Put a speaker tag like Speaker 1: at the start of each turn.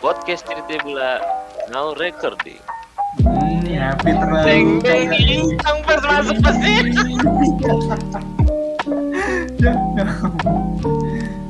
Speaker 1: podcast cerita bola now recording.
Speaker 2: Hmm, happy terlalu.
Speaker 3: Ding ding ding, sang pers masuk pasti.